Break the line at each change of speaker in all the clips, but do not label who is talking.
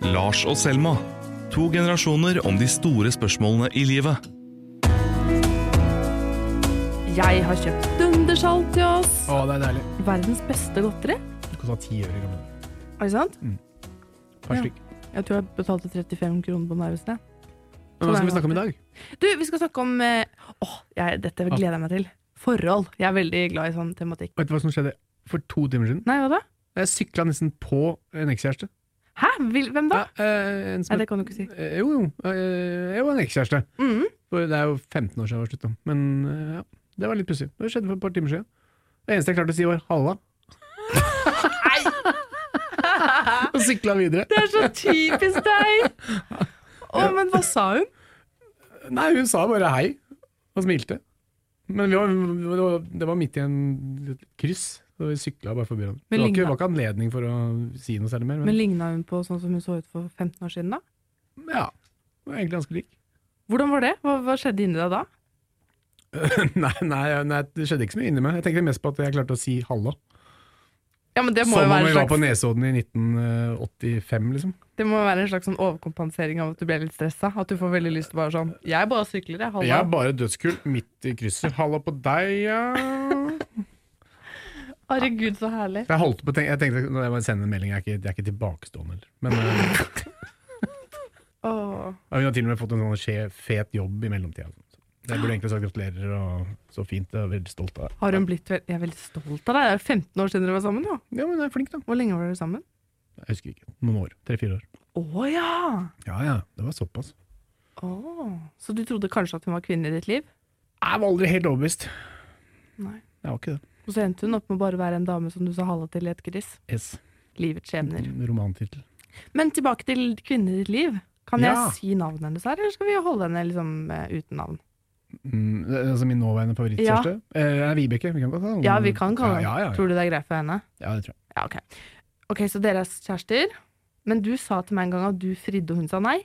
Lars og Selma. To generasjoner om de store spørsmålene i livet.
Jeg har kjøpt dundersalt til oss.
Å, det er deilig.
Verdens beste godteri.
Det kosta ti øre i gamle dager.
Er det sant?
Per
Ja.
stykk.
Jeg tror jeg betalte 35 kroner på Narvesen. jeg.
Men Hva skal vi snakke om i dag?
Du, vi skal snakke om eh, Åh, jeg, dette gleder jeg meg til. Forhold. Jeg er veldig glad i sånn tematikk.
Vet du hva som skjedde for to timer siden?
Nei, hva da?
Jeg sykla nesten på en ekskjæreste.
Hæ? Vil, hvem da?
Ja, eh, en som
Nei, det kan du ikke si.
het- eh, Jo, jo. eh, Jeg var en ekskjæreste.
Mhm.
For Det er jo 15 år siden jeg var slutta. Men eh, ja, det var litt pussig. Det skjedde for et par timer siden. Det eneste jeg klarte å si, var 'halla'. Og sykla videre.
Det er så typisk deg! Å, men hva sa hun?
Nei, hun sa bare hei, og smilte. Men vi var, det var- det var midt i en et kryss, så vi sykla bare forbi hverandre.
Men
Det var ikke,
ligna-
det var ikke anledning for å si noe særlig mer. Men,
Men ligna hun på sånn som hun så ut for 15 år siden, da?
ja, det var egentlig ganske lik.
Hvordan var det? Hva, hva skjedde inni deg da?
nei, nei, nei, det skjedde ikke så mye inni meg. Jeg tenkte mest på at jeg klarte å si halla.
Ja, men det må jo
Som om
være
vi
en
var på
slags,
Nesodden i 1985, liksom.
det må jo være en slags sånn overkompensering av at du ble litt stressa. At du får veldig lyst til bare sånn Jeg bare sykler, jeg.
Jeg
Halla.
er bare dødskul midt i krysset. Halla på deg, ja.
Herregud, så herlig.
Jeg holdt på å tenke, jeg tenkte, når jeg må sende en melding, jeg er ikke, jeg er ikke tilbakestående. heller. Men eh,
Åh.
Ja, Hun har til og med fått en sånn skje, fet jobb i mellomtida. Jeg burde egentlig sagt gratulerer, og så fint. Jeg er veldig stolt av deg.
Har hun blitt vel- Jeg er veldig stolt av deg. Det er 15 år siden dere var sammen, jo.
Ja, men du er flink, da.
Hvor lenge var dere sammen?
Jeg husker ikke. Noen år. Tre-fire år.
Å ja!
Ja, ja. Det var såpass.
Åh. Så du trodde kanskje at hun var kvinne i ditt liv?
Jeg var aldri helt overbevist.
Nei.
Jeg var ikke det.
Og så endte hun opp med å bare være en dame som du sa halla til i et gris.
Yes.
Livets skjebner.
Mm, Romantittel.
Men tilbake til kvinner i ditt liv. Kan
Ja.
jeg si navnet hennes her, eller skal vi holde henne liksom eh, uten navn?
Mm, det er altså min nåværende favorittkjæreste eh, er Vibeke. Vi kan godt ta noen-
Ja, vi kan kalle henne.
ja, ja, ja.
Tror du det er greit for henne?
ja, det tror jeg.
Ja, ok. Ok, så dere er kjærester. Men du sa til meg en gang at du fridde, og hun sa nei.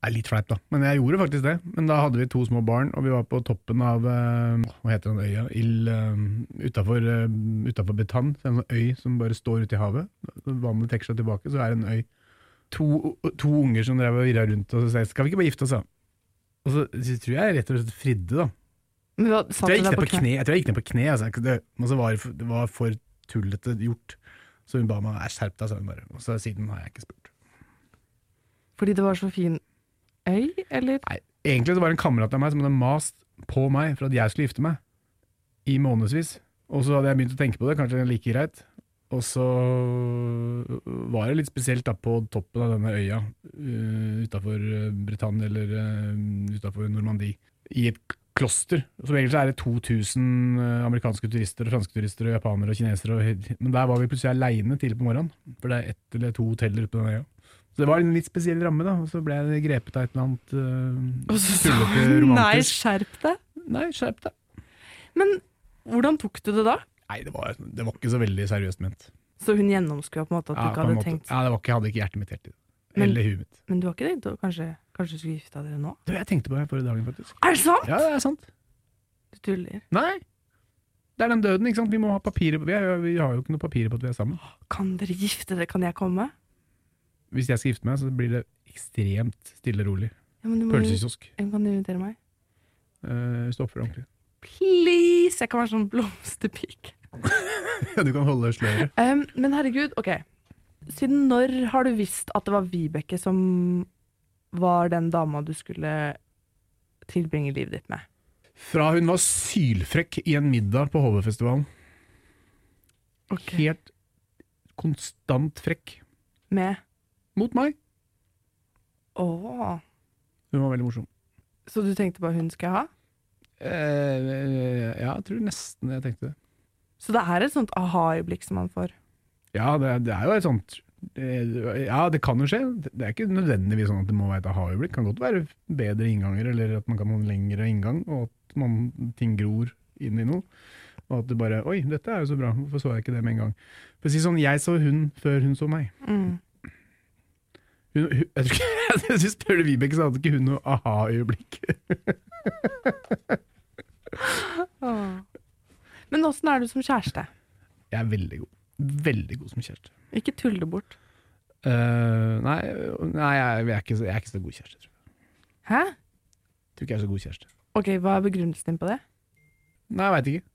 Det er litt fleip, da. Men jeg gjorde faktisk det. Men da hadde vi to små barn, og vi var på toppen av eh, Hva heter den øya? Il, eh, utafor, eh, utafor Betan. Så er det en sånn øy som bare står ute i havet. Når Vannet trekker seg tilbake, så er det en øy. To, to unger som drev og virra rundt og så sa jeg, 'skal vi ikke bare gifte oss', da? Og så, så tror jeg rett og slett fridde, da.
Men hva,
Jeg
sa
tror
til
jeg
deg
gikk ned
på
på
kne.
kne. Jeg tror jeg gikk ned på kne altså. det, men så var det, for, det var for tullete gjort. Så hun ba meg «Æ, 'skjerp deg', sa hun bare. Og så siden har jeg ikke spurt.
Fordi det var så fin øy, eller?
Nei, egentlig så var det en kamerat av meg som hadde mast på meg for at jeg skulle gifte meg. I månedsvis. Og så hadde jeg begynt å tenke på det, kanskje like greit. Og så øh, var det litt spesielt da på toppen av denne øya uh, utafor Britannia eller uh, utafor Normandie, i et kloster. Som egentlig er det 2000 amerikanske turister og franske turister og japanere og kinesere. Og, men der var vi plutselig aleine tidlig på morgenen, for det er ett eller to hoteller ute på den øya. Så det var en litt spesiell ramme, da, og så ble jeg grepet av et eller annet eh,
Og så sa
tullete
hun nei,
romantisk.
skjerp deg.
Nei, skjerp deg.
Men hvordan tok du det da?
Nei, det var, det var ikke så veldig seriøst ment.
Så hun gjennomskua på en måte at du
Ja, på
ikke
en
hadde
måte.
tenkt
Ja, det var ikke, jeg hadde ikke hjertet mitt helt i det.
Men-
Eller huet mitt.
Men du har ikke tenkt å kanskje, kanskje du skulle gifte dere nå?
Du, jeg tenkte på det forrige dagen, faktisk.
Er det sant?!
Ja, det er sant.
Du tuller.
Nei! Det er den døden, ikke sant? Vi må ha papirer på Vi, er, vi har jo ikke noe papirer på at vi er sammen.
Kan dere gifte dere? Kan jeg komme?
Hvis jeg skal gifte meg, så blir det ekstremt stille og rolig.
Ja, men du må jo
Pølsekiosk.
Hvem kan du invitere meg?
eh, Hvis du oppfører deg ordentlig.
Please! Jeg kan være sånn blomsterpike.
Ja, du kan holde sløret.
Um, men herregud, ok. Siden når har du visst at det var Vibeke som var den dama du skulle tilbringe livet ditt med?
Fra hun var sylfrekk i en middag på HV-festivalen. Helt konstant frekk.
Med
Mot meg.
Åh.
Hun var veldig morsom.
Så du tenkte bare hun skal jeg ha?
Eh, ja, jeg tror nesten jeg tenkte det.
Så det er et sånt aha-øyeblikk som man får.
Ja, det, er- det er jo et sånt eh, Ja, det kan jo skje. Det er ikke nødvendigvis sånn at det må være et aha-øyeblikk. Det kan godt være bedre innganger, eller at man kan ha en lengre inngang, og at man, ting gror inn i noe. Og at det bare Oi, dette er jo så bra, hvorfor så jeg ikke det med en gang? For å si sånn, jeg så hun før hun så meg.
Mm.
Hun, hun, jeg tror ikke, jeg synes Spør du Vibeke, så hadde ikke hun noe aha-øyeblikk.
Men åssen er du som kjæreste?
Jeg er veldig god. Veldig god som kjæreste.
Ikke tull det bort.
Eh, nei, nei jeg, jeg, er ikke, så- jeg er ikke så god kjæreste. Tror jeg.
Hæ?
tror ikke jeg er så god kjæreste.
Ok, Hva er begrunnelsen din på det?
Nei, jeg veit ikke.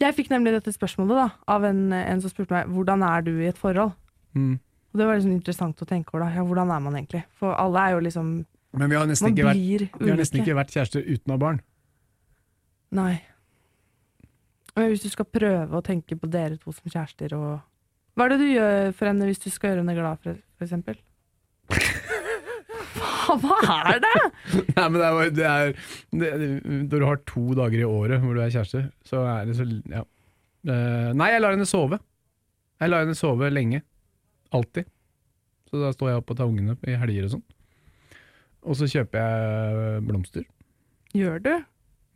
Jeg fikk nemlig dette spørsmålet da, av en, en som spurte meg hvordan er du i et forhold.
Mm.
Og Det var liksom interessant å tenke over. da, ja, Hvordan er man egentlig? For alle er jo liksom
Men vi har nesten
Man
ikke vært
blir
Vi har nesten
ulike.
ikke vært kjærester uten å ha barn.
Nei. Men hvis du skal prøve å tenke på dere to som kjærester og Hva er det du gjør for henne hvis du skal gjøre henne glad, for, for eksempel? Hva, hva er det?!
Nei, men det er, bare- det er det, det- Når du har to dager i året hvor du er kjæreste, så er det så ja. Eh, nei, jeg lar henne sove. Jeg lar henne sove lenge. Alltid. Så da står jeg opp og tar ungene i helger og sånn. Og så kjøper jeg blomster.
Gjør du?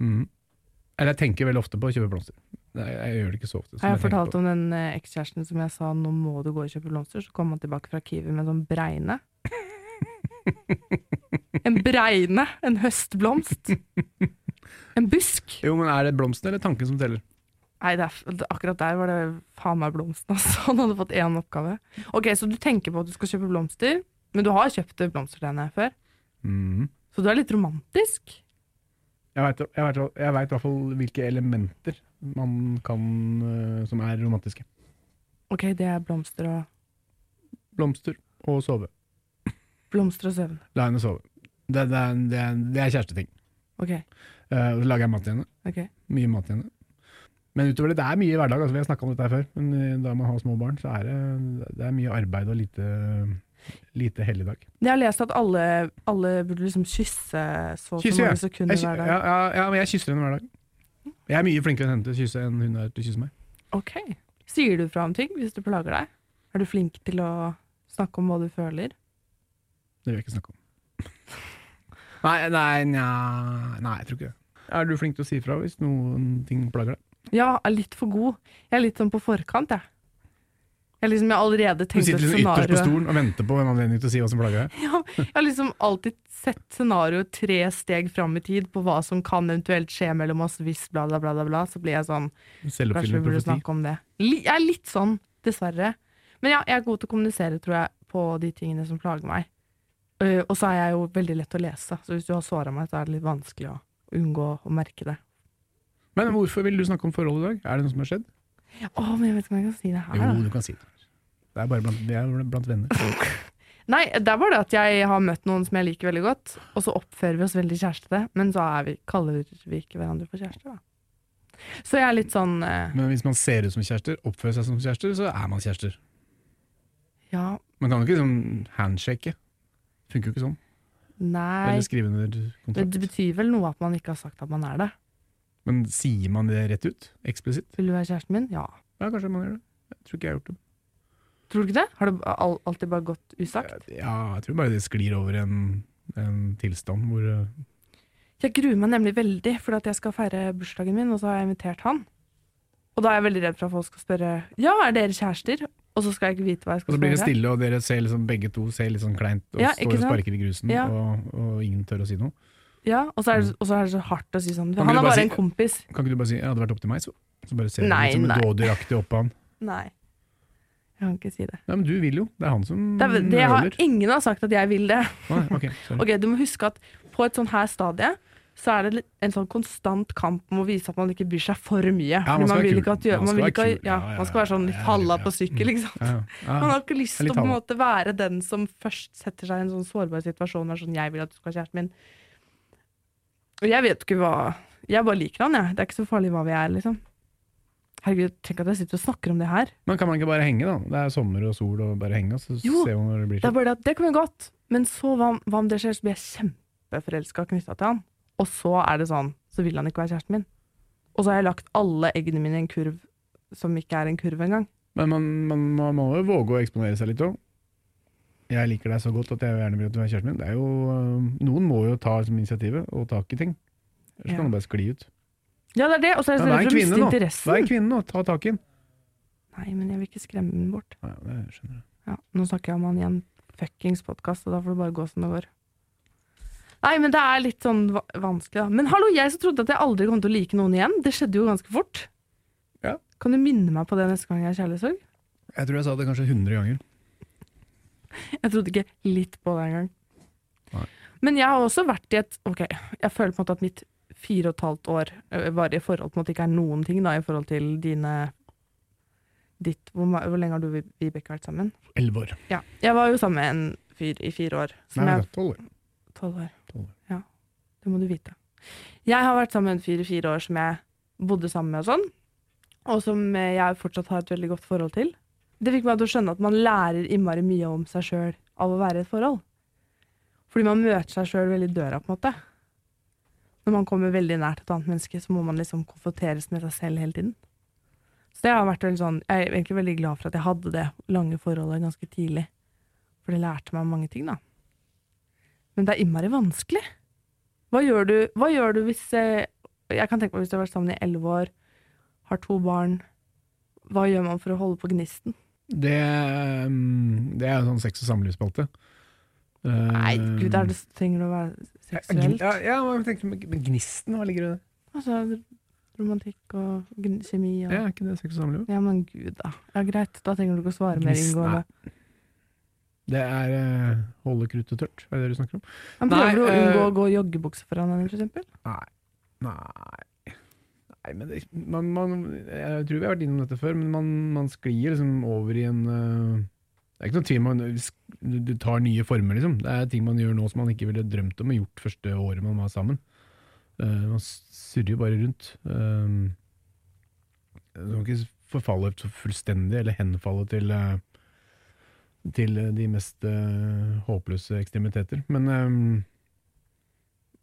Mhm. Eller jeg tenker veldig ofte på å kjøpe blomster. Nei, jeg gjør det ikke så ofte. som
Har jeg
tenker
fortalt
på.
om den eh, ekskjæresten som jeg sa nå må du gå og kjøpe blomster, så kom han tilbake fra Kiwi med en sånn bregne. En bregne, en høstblomst. En busk.
Jo, men er det blomsten eller tanken som teller?
Nei, det er, f- det- akkurat der var det faen meg blomsten, altså. Han hadde fått én oppgave. Ok, Så du tenker på at du skal kjøpe blomster, men du har kjøpt blomster til henne før,
Mhm.
så du er litt romantisk.
Jeg veit i hvert fall hvilke elementer man kan, eh, som er romantiske.
Ok, det er blomster og
blomster og sove.
blomster og søvn.
La henne sove. Det, det, er- det, er- det er kjæresteting.
Ok,
Eh, så lager jeg mat til henne.
ok.
Mye mat til henne. Men utover det, det er mye i hverdag. Altså, vi har snakka om dette her før. Men eh, da man har små barn, så er det, det er mye arbeid og lite, lite helligdag.
Jeg har lest at alle, alle burde liksom kysse så og
Kysse,
så
ja.
mange sekunder
Jeg, ky-
hver
ja,
dag.
ja, ja, men jeg kysser henne hver dag. Jeg er mye flinkere enn henne til å kysse enn hun er til å kysse meg.
Ok. Sier du fra om ting hvis du plager deg? Er du flink til å snakke om hva du føler?
Det vil jeg ikke snakke om. Nei, nei, nja, nei, jeg tror ikke det. Er du flink til å si fra hvis noen ting plager deg?
Ja, er litt for god. Jeg er litt sånn på forkant, jeg. Jeg, liksom, jeg har allerede
Du
tenkt
sitter
et
liksom ytterst på
scenario.
stolen og venter på en anledning til å si hva som plager deg.
Ja, jeg har liksom alltid sett scenarioet tre steg fram i tid på hva som kan eventuelt skje mellom oss hvis bla, bla, bla, bla, bla. Så blir jeg sånn Kanskje vi
Selvoppfyllende
burde
profeti.
snakke om det. Li- Jeg er litt sånn, dessverre. Men ja, jeg er god til å kommunisere, tror jeg, på de tingene som plager meg. Eh, og så er jeg jo veldig lett å lese, så hvis du har såra meg, så er det litt vanskelig å unngå å merke det.
Men hvorfor vil du snakke om forhold i dag? Er det noe som har skjedd?
Å, men jeg vet ikke om jeg kan si det her, da.
du kan si det. Det er bare blant, vi er blant venner.
Nei, det er bare det at jeg har møtt noen som jeg liker veldig godt, og så oppfører vi oss veldig kjærestete, men så er vi, kaller vi ikke hverandre for kjærester, da. Så jeg er litt sånn eh,
Men hvis man ser ut som kjærester, oppfører seg som kjærester, så er man kjærester.
Ja,
Man kan jo ikke sånn handshake. Funker jo ikke sånn.
nei
Eller skrive under
Men det
kontrakt.
betyr vel noe at man ikke har sagt at man er det.
Men sier man det rett ut? Eksplisitt?
Vil du være kjæresten min? Ja.
Ja, kanskje man gjør det. Jeg tror ikke jeg har gjort det.
Tror du ikke det? Har det al- alltid bare gått usagt?
Eh, Ja, jeg tror bare det sklir over en, en tilstand hvor eh,
Jeg gruer meg nemlig veldig for at jeg skal feire bursdagen min, og så har jeg invitert han. Og da er jeg veldig redd for at folk skal spørre Ja, er dere kjærester? Og så skal jeg ikke vite hva jeg
Og
skal
så blir det
spørre.
stille, og dere ser liksom, begge to ser litt sånn kleint og
Ja,
står
ikke
og
sant?
sparker i grusen,
Ja.
og, og ingen tør å si noe.
Ja, og så er det, og så er det så hardt å si sånn
Kan
Han
du
er
bare
bare
si-
en kompis.
Kan ikke du bare si 'hadde det vært opp til meg', så? Så bare ser du
Nei,
litt som en
nei.
dådyraktig opp på han.
Nei. Jeg kan ikke si det.
Nei, men du vil jo. Mm, Det er han som
Det, er, det har,
nøler.
ingen har sagt at jeg vil det.
Nei, ok, sorry.
Ok, Du må huske at på et sånn her stadie så er det litt- en sånn konstant kamp om å vise at man ikke bryr seg for mye.
man
Fordi
skal være
vil
kul.
ikke at gjør,
Man
man,
skal
vil
være
ikke, ha-
kul.
ja,
Ja, ja,
man skal være sånn
ja,
litt
ja,
halla
ja.
på sykkel, ikke sant.
Ja, ja. Ja,
Man har ikke lyst til
Jeg er litt
å på en
halla.
måte være den som først setter seg i en sånn sårbar situasjon og er sånn 'jeg vil at du skal være kjæresten min'. Og jeg vet jo ikke hva Jeg bare liker han, jeg. Det er ikke så farlig hva vi er, liksom. Herregud, tenk at jeg sitter og snakker om det her.
Men kan man ikke bare henge, da? Det er sommer og sol, og bare henge, og så
Jo,
ser man når det blir
Det er
slutt.
bare det at det kan vi godt, men så hva, om- hva om det skjer, så blir jeg kjempeforelska knytta til han. Og så er det sånn, så vil han ikke være kjæresten min. Og så har jeg lagt alle eggene mine i en kurv som ikke er en kurv engang.
Men man, man, man må jo våge å eksponere seg litt òg. Jeg liker deg så godt at jeg gjerne vil at du er kjæresten min. Det er jo, øh, noen må jo ta liksom, initiativet og tak i ting. Ellers
Ja.
kan det bare skli ut.
Ja, det er det, og så er jeg
Ja,
så redd
vær en
for å
kvinne
miste
nå!
interessen.
Vær en kvinne nå, ta tak i den!
Nei, men jeg vil ikke skremme den bort.
Ja, det skjønner jeg.
Ja, nå snakker jeg om han i en fuckings podkast, og da får det bare gå som det går. Nei, men det er litt sånn va vanskelig, da. Men hallo, jeg som trodde at jeg aldri kom til å like noen igjen. Det skjedde jo ganske fort.
Ja.
Kan du minne meg på det neste gang jeg har kjærlighetssorg?
Jeg tror jeg sa det kanskje 100 ganger.
Jeg trodde ikke litt på det engang.
Nei.
Men jeg har også vært i et Ok, jeg føler på en måte at mitt fire og et halvt år ø, varige forhold på en måte ikke er noen ting, da, i forhold til dine Ditt Hvor, ma- hvor lenge har du og Vi- Vibeke vært sammen?
Elleve år.
Ja. Jeg var jo sammen med en fyr i fire år. Som
Nei,
jeg
tolv år.
Tolv år.
Tolv år.
Ja, det må du vite. Jeg har vært sammen med en fyr i fire år som jeg bodde sammen med og sånn, og som eh, jeg fortsatt har et veldig godt forhold til. Det fikk meg til å skjønne at man lærer innmari mye om seg sjøl av å være i et forhold. Fordi man møter seg sjøl veldig i døra, på en måte. Når man kommer veldig nært et annet menneske, så må man liksom konfronteres med seg selv hele tiden. Så det har vært veldig sånn, Jeg er egentlig veldig glad for at jeg hadde det lange forholdet ganske tidlig. For det lærte meg mange ting, da. Men det er innmari vanskelig. Hva gjør du, hva gjør du hvis eh, Jeg kan tenke meg hvis du har vært sammen i elleve år, har to barn. Hva gjør man for å holde på gnisten?
Det, mm, det er jo sånn sex og samlivsspalte. Øh,
Nei, gud, er det, trenger det å være seksuelt?
Ja, ja, men tenk, men gnisten, hva ligger i det?
Altså, romantikk og gn- kjemi og
Ja, er ikke det sex og samliv?
Ja, men gud, da. Ja, Greit, da trenger du ikke å svare mer
Gnisten,
inngående.
Det er eh, holde kruttet tørt, er det det du snakker om?
Men
Nei,
prøver du å
eh,
unngå å gå i joggebukse foran henne, for eksempel?
Nei, Nei men det, man, man, jeg tror vi har vært innom dette før, men man, man sklir liksom over i en eh, Det er ikke noen tvil om man sk- du tar nye former, liksom. Det er ting man gjør nå som man ikke ville drømt om å gjort første året man var sammen. Eh, man surrer jo bare rundt. Uh, du kan ikke forfalle så fullstendig, eller henfalle til eh, til eh, de mest eh, håpløse ekstremiteter. Men eh,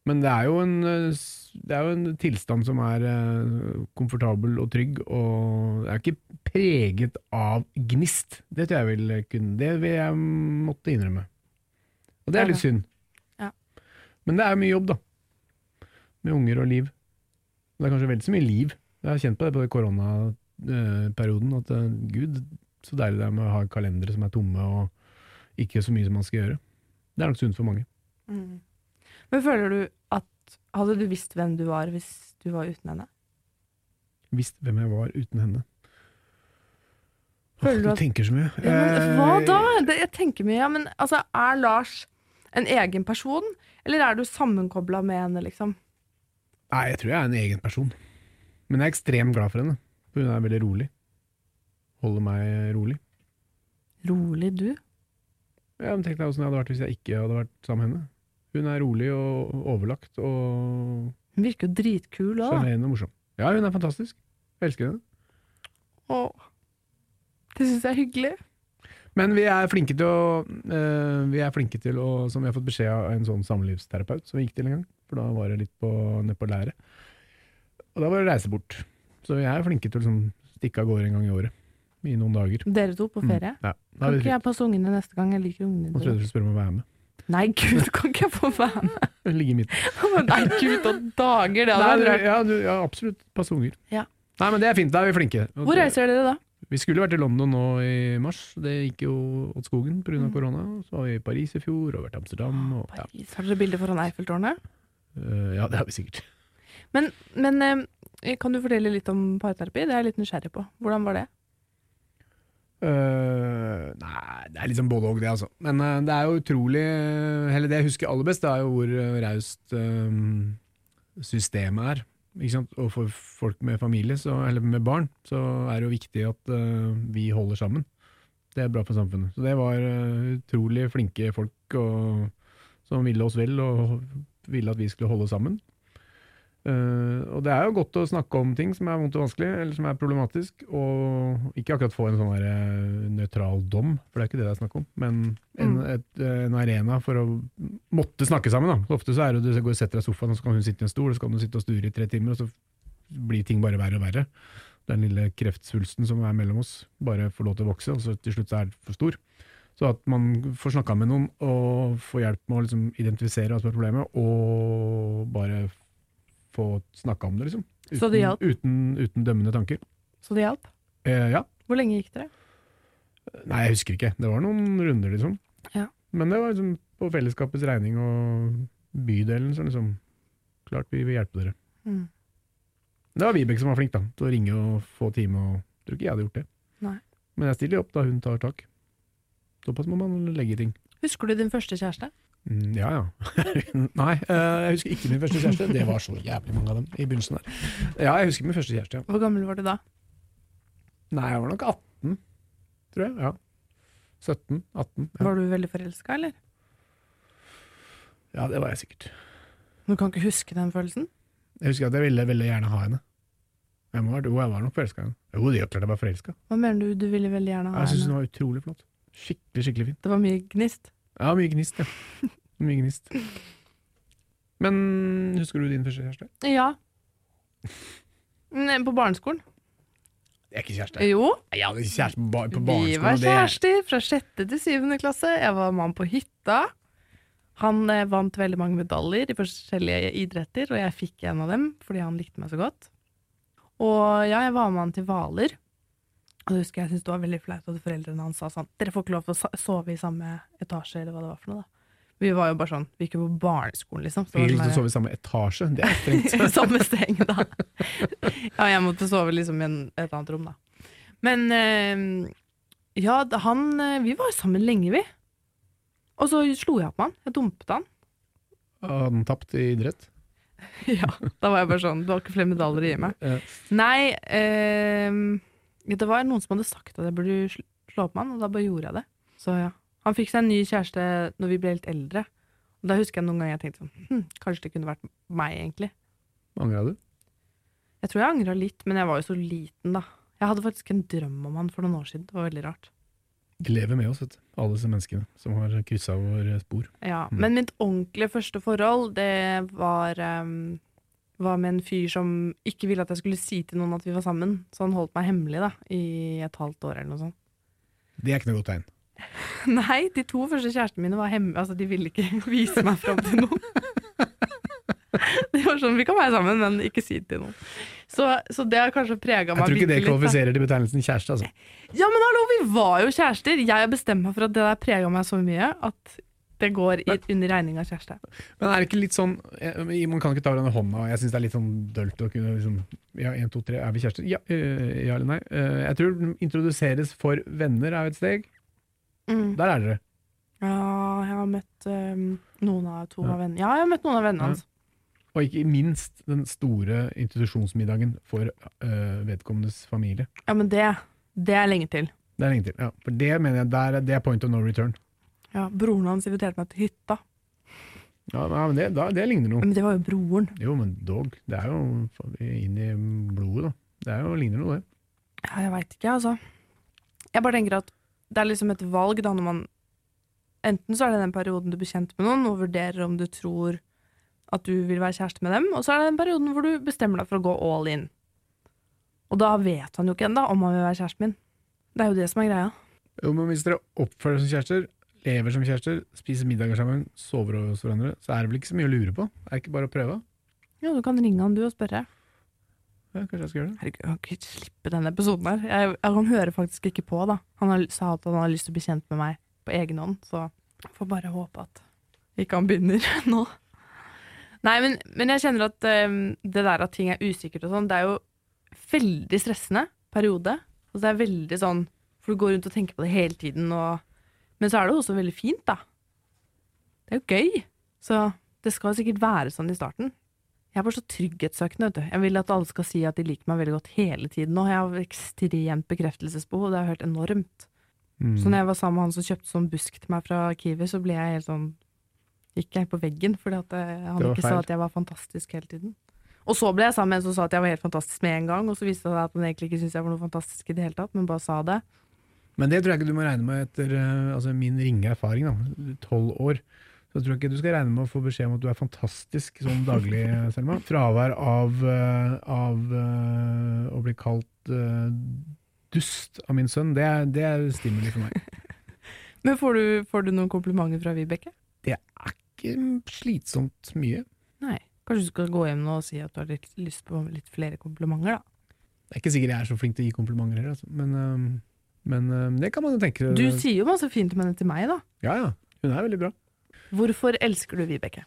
men det er jo en, eh, s- det er jo en tilstand som er eh, komfortabel og trygg, og det er ikke preget av gnist. Det tror jeg vil kunne Det vil jeg måtte innrømme. Og det
Ja,
er litt
ja.
synd.
Ja.
Men det er mye jobb, da. Med unger og liv. Det er kanskje vel så mye liv. Jeg har kjent på det på koronaperioden, at eh, gud, så deilig det er med å ha kalendere som er tomme, og ikke så mye som man skal gjøre. Det er nok sunt for mange.
Men føler du at Hadde du visst hvem du var hvis du var uten henne?
visst hvem jeg var uten henne.
Føler
Åh,
du at-
tenker så mye.
Ja, men, hva
Eh,
da? Det, jeg tenker mye, ja, men altså, er Lars en egen person, eller er du sammenkobla med henne, liksom?
Nei, jeg tror jeg er en egen person. Men jeg er ekstremt glad for henne. For hun er veldig rolig. Holder meg rolig.
Rolig, du.
Ja, men Tenk deg åssen jeg hadde vært hvis jeg ikke hadde vært sammen med henne. Hun er rolig og overlagt og
Hun virker jo dritkul òg, da.
sjarmerende og morsom. Ja, hun er fantastisk. Jeg elsker henne.
Åh. Det syns jeg er hyggelig.
Men vi er flinke til å, eh, vi er flinke til å Som vi har fått beskjed av en sånn samlivsterapeut som vi gikk til en gang. For da var det litt på, ned på læret. Og da var det å reise bort. Så vi er flinke til å liksom, stikke av gårde en gang i året. I noen dager.
Dere to på ferie.
Ja. Da
Kan
er vi
ikke
flinke.
jeg passe ungene neste gang? Jeg liker
Nå
ungene
trodde
dine.
jeg du skulle spørre om å være med.
Nei, gud, kan ikke jeg få være med?
Ligge i midten.
Nei, gud, og dager, det
Nei,
hadde vært
du,
rart.
ja, du, ja, absolutt. Passe unger.
Ja.
Nei, men det er fint. Da er vi flinke. Og
Hvor
det-
reiser dere da?
Vi skulle vært i London nå i mars. Det gikk jo åt skogen pga. av korona. Så var vi i Paris i fjor, og vært i Amsterdam. Og, ja.
Mm. Ah, Paris. Har dere bilder foran Eiffeltårnet?
Eh, ja, det har vi sikkert.
Men, men eh, kan du fortelle litt om parterapi? Det er jeg litt nysgjerrig på. Hvordan var det?
Øh, nei, det er liksom både og det, altså. Men øh, det er jo utrolig eh, Eller det jeg husker aller best, det er jo hvor øh, raust øh, systemet er. Ikke sant? Og for folk med familie, så, eller med barn, så er det jo viktig at øh, vi holder sammen. Det er bra for samfunnet. Så det var øh, utrolig flinke folk og, som ville oss vel, og ville at vi skulle holde sammen. Eh, og det er jo godt å snakke om ting som er vondt og vanskelig, eller som er problematisk, og ikke akkurat få en sånn der, eh, nøytral dom, for det er ikke det det er snakk om, men en, et, eh, en arena for å måtte snakke sammen. Da. Ofte så er det jo du går og setter deg i sofaen, og så kan hun sitte i en stol, og så kan du sitte og sture i tre timer, og så blir ting bare verre og verre. Den lille kreftsvulsten som er mellom oss, bare får lov til å vokse, og så til slutt så er den for stor. Så at man får snakka med noen og får hjelp med å liksom identifisere hva som er problemet, og bare få snakka om det, liksom. Uten,
Så det hjalp?
Uten, uten dømmende tanker.
Så det hjalp?
Eh, ja.
Hvor lenge gikk dere?
Nei, jeg husker ikke. Det var noen runder, liksom.
Ja.
Men det var liksom på fellesskapets regning og bydelen, så liksom Klart vi vil hjelpe dere.
Mm.
Det var Vibeke som var flink, da, til å ringe og få time og Tror ikke jeg hadde gjort det.
Nei.
Men jeg stiller opp da hun tar tak. Såpass må man legge ting.
Husker du din første kjæreste?
Mm, ja ja. Nei, eh, jeg husker ikke min første kjæreste. Det var så jævlig mange av dem i begynnelsen der. Ja, jeg husker min første kjæreste, ja.
Hvor gammel var du da?
Nei, jeg var nok 18, tror jeg. Ja. 17, 18. Ja,
Var du veldig forelska, eller?
ja det var jeg sikkert.
Du kan ikke huske den følelsen?
Jeg husker at jeg ville veldig gjerne ha henne. Jeg, må, ha vært- jo, jeg var nok forelska i henne. Jo, det er klart jeg var forelska.
Hva mener du du ville veldig gjerne ha
Jeg syns hun
henne?
var utrolig flott. Skikkelig, skikkelig fin.
Det var mye gnist.
Ja, mye gnist, ja. Mye gnist. Men husker du din første kjæreste?
Ja. Nei, På barneskolen?
Det er ikke kjæreste.
Jo.
Jeg hadde ikke kjæreste på, bar på
Vi var
barneskolen. og Det,
kjærester fra sjette til syvende klasse. Jeg var mann på hytta. Han eh, vant veldig mange medaljer i forskjellige idretter, og jeg fikk en av dem fordi han likte meg så godt. Og ja, jeg var med han til Hvaler. Og det husker jeg syntes det var veldig flaut at foreldrene hans sa sånn Dere får ikke lov til å sa- sove i samme etasje, eller hva det var for noe, da. Vi var jo bare sånn Vi gikk jo på barneskolen, liksom. Så det var
vi
sånn
likte å
der-
sove i samme etasje. Det er strengt.
i samme seng, da. Ja, jeg måtte sove liksom i en, et annet rom, da. Men eh, ja, da- han eh, Vi var sammen lenge, vi. Og så slo jeg opp med han. Jeg dumpet han.
Hadde han tapt i idrett?
Ja, Da var jeg bare sånn Du har ikke flere medaljer å gi meg.
Eh,
Nei, eh, det var noen som hadde sagt at jeg burde sl- slå opp med han, og da bare gjorde jeg det. Så ja. Han fikk seg en ny kjæreste når vi ble litt eldre. Og da husker jeg noen ganger jeg tenkte sånn hm, Kanskje det kunne vært meg, egentlig.
Angra du?
Jeg tror jeg angra litt, men jeg var jo så liten, da. Jeg hadde faktisk en drøm om han for noen år siden. Det var veldig rart.
De lever med oss, vet du. alle disse menneskene som har kryssa vår spor.
Ja.
Mm.
Men mitt ordentlige første forhold, det var ehm, var med en fyr som ikke ville at jeg skulle si til noen at vi var sammen. Så han holdt meg hemmelig da, i et halvt år eller noe sånt.
Det er ikke noe godt tegn.
Nei, de to første kjærestene mine var hemmelig. Altså, de ville ikke vise meg fram til noen. Det var sånn, Vi kan være sammen, men ikke si det til noen. Så, så det har kanskje prega
Jeg
meg
tror ikke det
bitte litt, da.
kvalifiserer til betegnelsen kjæreste, altså.
Ja, men hallo, vi var jo kjærester. Jeg bestemte meg for at det der prega meg så mye at det går i, under regning av kjæreste.
Men er det ikke litt sånn eh, Man kan ikke ta hverandre i hånda. og Jeg syns det er litt sånn dølt å kunne liksom Ja, én, to, tre, er vi kjærester? Ja, eh, ja eller nei? Eh, jeg tror den introduseres for venner er jo et steg. Der er dere.
Ja, jeg har møtt øhm, noen av to
Ja.
av vennene Ja, jeg har møtt noen av
Ja.
vennene hans.
Og ikke minst den store institusjonsmiddagen for eh, vedkommendes familie.
Ja, men det, det er lenge til.
Det er lenge til. Ja. For det mener jeg, der, er- det er point of no return.
Ja, Broren hans inviterte meg til hytta.
Ja, nei, men det, da, det ligner noe.
Men det var jo broren.
Jo, men dog. Det er jo faen, inn i blodet, da. Det er jo, ligner noe, det.
Ja, jeg veit ikke, altså. Jeg bare tenker at det er liksom et valg da når man Enten så er det den perioden du blir kjent med noen og vurderer om du tror at du vil være kjæreste med dem, og så er det den perioden hvor du bestemmer deg for å gå all in. Og da vet han jo ikke ennå om han vil være kjæresten min. Det er jo det som er greia.
Jo, men hvis dere oppfører dere som kjærester, lever som kjærester, spiser middager sammen, sover hos hverandre, så er det vel ikke så mye å lure på? Er det ikke bare å prøve?
Ja, du kan ringe han du og spørre.
Ja, kanskje jeg skal gjøre det.
Herregud, jeg kan ikke slippe denne episoden her. Jeg, jeg, han hører faktisk ikke på, da. Han har, sa at han har lyst til å bli kjent med meg på egen hånd, så jeg får bare håpe at ikke han begynner nå. Nei, men, men jeg kjenner at øhm, det der at ting er usikkert og sånn, det er jo veldig stressende periode. Altså, det er veldig sånn, for du går rundt og tenker på det hele tiden, og... men så er det jo også veldig fint, da. Det er jo gøy. Så det skal jo sikkert være sånn i starten. Jeg er bare så trygghetssøkende, vet du. Jeg vil at alle skal si at de liker meg veldig godt hele tiden nå. Jeg har ekstremt bekreftelsesbehov, det har jeg hørt enormt.
Mm.
Så når jeg var sammen med han som kjøpte sånn busk til meg fra Kiwi, så ble jeg helt sånn Gikk jeg på veggen fordi at eh, han
Det var
ikke
feil.
sa at jeg var fantastisk hele tiden. Og så ble jeg sammen med en som sa at jeg var helt fantastisk med en gang, og så viste det seg at han egentlig ikke syntes jeg var noe fantastisk i det hele tatt, men bare sa det.
Men det tror jeg ikke du må regne med etter eh, altså min ringe erfaring, da, tolv år. Så tror jeg ikke du skal regne med å få beskjed om at du er fantastisk sånn daglig, Selma. Fravær av, eh, av eh, å bli kalt eh, dust av min sønn, det er, det er stimuli for meg.
Men får du, får du noen komplimenter fra Vibeke?
Det er ikke slitsomt mye.
Nei. Kanskje du skal gå hjem nå og si at du har litt lyst på litt flere komplimenter, da.
Det er ikke sikkert jeg er så flink til å gi komplimenter heller, altså. men, eh, men eh, det kan man jo tenke.
Du sier jo masse fint om henne til meg, da.
Ja, ja. Hun er veldig bra.
Hvorfor elsker du Vibeke?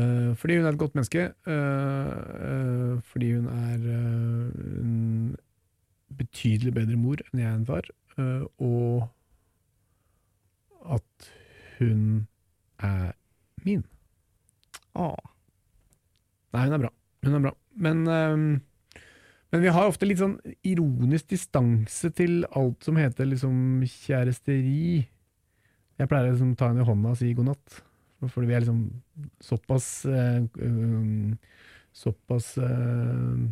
Eh, fordi hun er et godt øh, menneske. eh, eh, fordi hun er eh, øh, en betydelig bedre mor enn jeg er en far, eh, og at hun er min.
Åh.
Nei, hun er bra. Hun er bra. Men, ehm, men vi har ofte litt sånn ironisk distanse til alt som heter liksom kjæresteri. Jeg pleier å liksom ta henne i hånda og si god natt, fordi vi er liksom såpass eh, um, Såpass eh,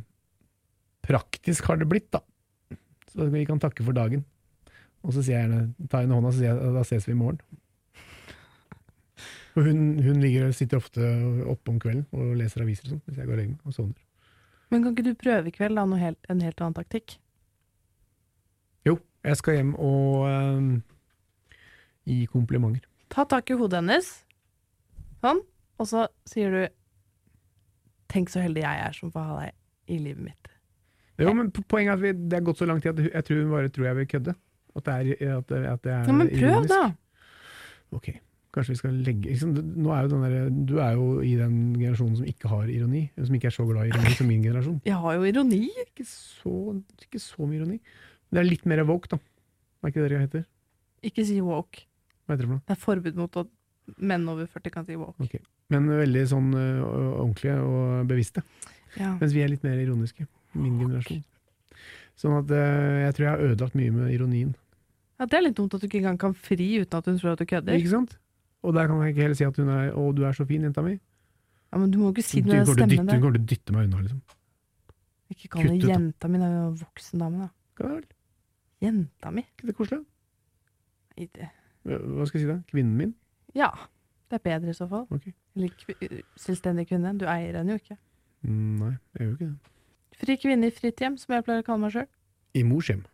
praktisk har det blitt, da. Så vi kan takke for dagen. Og så sier jeg gjerne ta henne i hånda, så sier jeg da ses vi i morgen. Og hun, hun ligger, og sitter ofte oppe om kvelden og leser aviser og sånn, hvis jeg går og legger meg og sovner.
Men kan ikke du prøve i kveld da, noe helt, en helt annen taktikk?
Jo, jeg skal hjem og ehm, gi komplimenter.
Ta tak i hodet hennes, sånn, og så sier du Tenk så heldig jeg er som får ha deg i livet mitt.
Jo, men po- Poenget er at vi, det er gått så lang tid at hu- jeg tror hun bare tror jeg vil kødde. At det er, at det, at det er
Ja, men prøv,
ironisk.
da!
Ok, kanskje vi skal legge ikke sant, nå er jo den der, Du er jo i den generasjonen som ikke har ironi, som ikke er så glad i ironi som min generasjon.
Jeg har jo ironi.
Ikke så, ikke så mye ironi. Det er litt mer woke, da. Er ikke det det heter?
Ikke si woke.
Hva heter det for noe?
Det er forbud mot at menn over 40 kan si woke.
Ok. Men veldig sånn ø, ordentlige og bevisste.
Ja.
Mens vi er litt mer ironiske.
Ah,
Min generasjon. Sånn at ø, jeg tror jeg har ødelagt mye med ironien.
Ja, det er litt dumt at du ikke engang kan fri uten at hun tror at du kødder.
Ikke sant? Og der kan jeg ikke heller si at hun er 'Å, du er så fin, jenta mi'.
Ja, men du må ikke si
Hun
det med den
går til å dytte,
stemmen
hun
der.
går til å dytte meg unna, liksom.
Ikke kall henne
kutt ut, da.
jenta mi, det er jo en voksen dame, da.
Ja, vel,
Jenta mi?
ikke det koselig?
Nei, det-
Hva skal jeg si da? Kvinnen min?
Ja. Det er bedre i så fall.
Ok.
Eller kvi- selvstendig kvinne. Du eier henne jo ikke.
Mm, Nei, jeg gjør jo ikke det.
Fri kvinne i fritt hjem, som jeg pleier å kalle meg sjøl.
I mors hjem.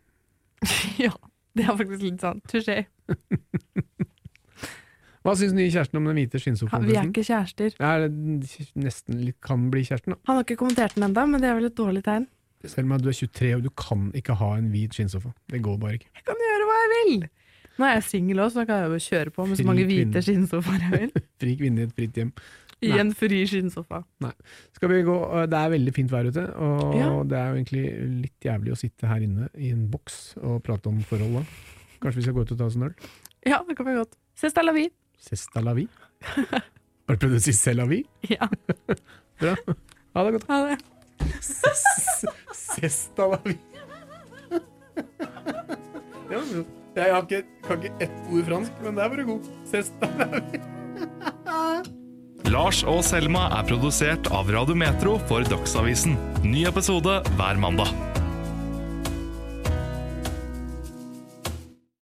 ja, det er faktisk litt sånn. Touché.
Hva syns nye kjæresten om den
Han-
hvite
Vi er
skinnsofaen?
ikke kjærester.
Er det nesten litt kan bli kjæresten, da.
Han har ikke kommentert den ennå, men det er vel et dårlig tegn.
Selv om du er 23 og du kan ikke ha en hvit skinnsofa. Det går bare ikke.
Jeg kan gjøre hva jeg vil! Nå er jeg singel òg, så da kan jeg jo kjøre på med så
Fri
mange hvite
kvinne.
skinnsofaer jeg vil.
Fri kvinne i et fritt hjem.
I
Nei.
en fri skinnsofa.
Skal vi gå, eh, Det er veldig fint vær ute, og
Ja.
det er jo egentlig litt jævlig å sitte her inne i en boks og prate om forhold da. Kanskje vi skal gå ut og ta oss en øl?
Ja, det kan vi godt. Ses da, Lavi.
Sesta la vi? Har du prøvd å si c'est la vie?
Ja,
Bra. Ha det godt.
ha det.
Ses- Sesta la vie. Det var bra. Jeg har ikke, kan ikke ett ord fransk, men der var du god. Sesta la vie.
Lars og Selma er produsert av Radio Metro for Dagsavisen. Ny episode hver mandag.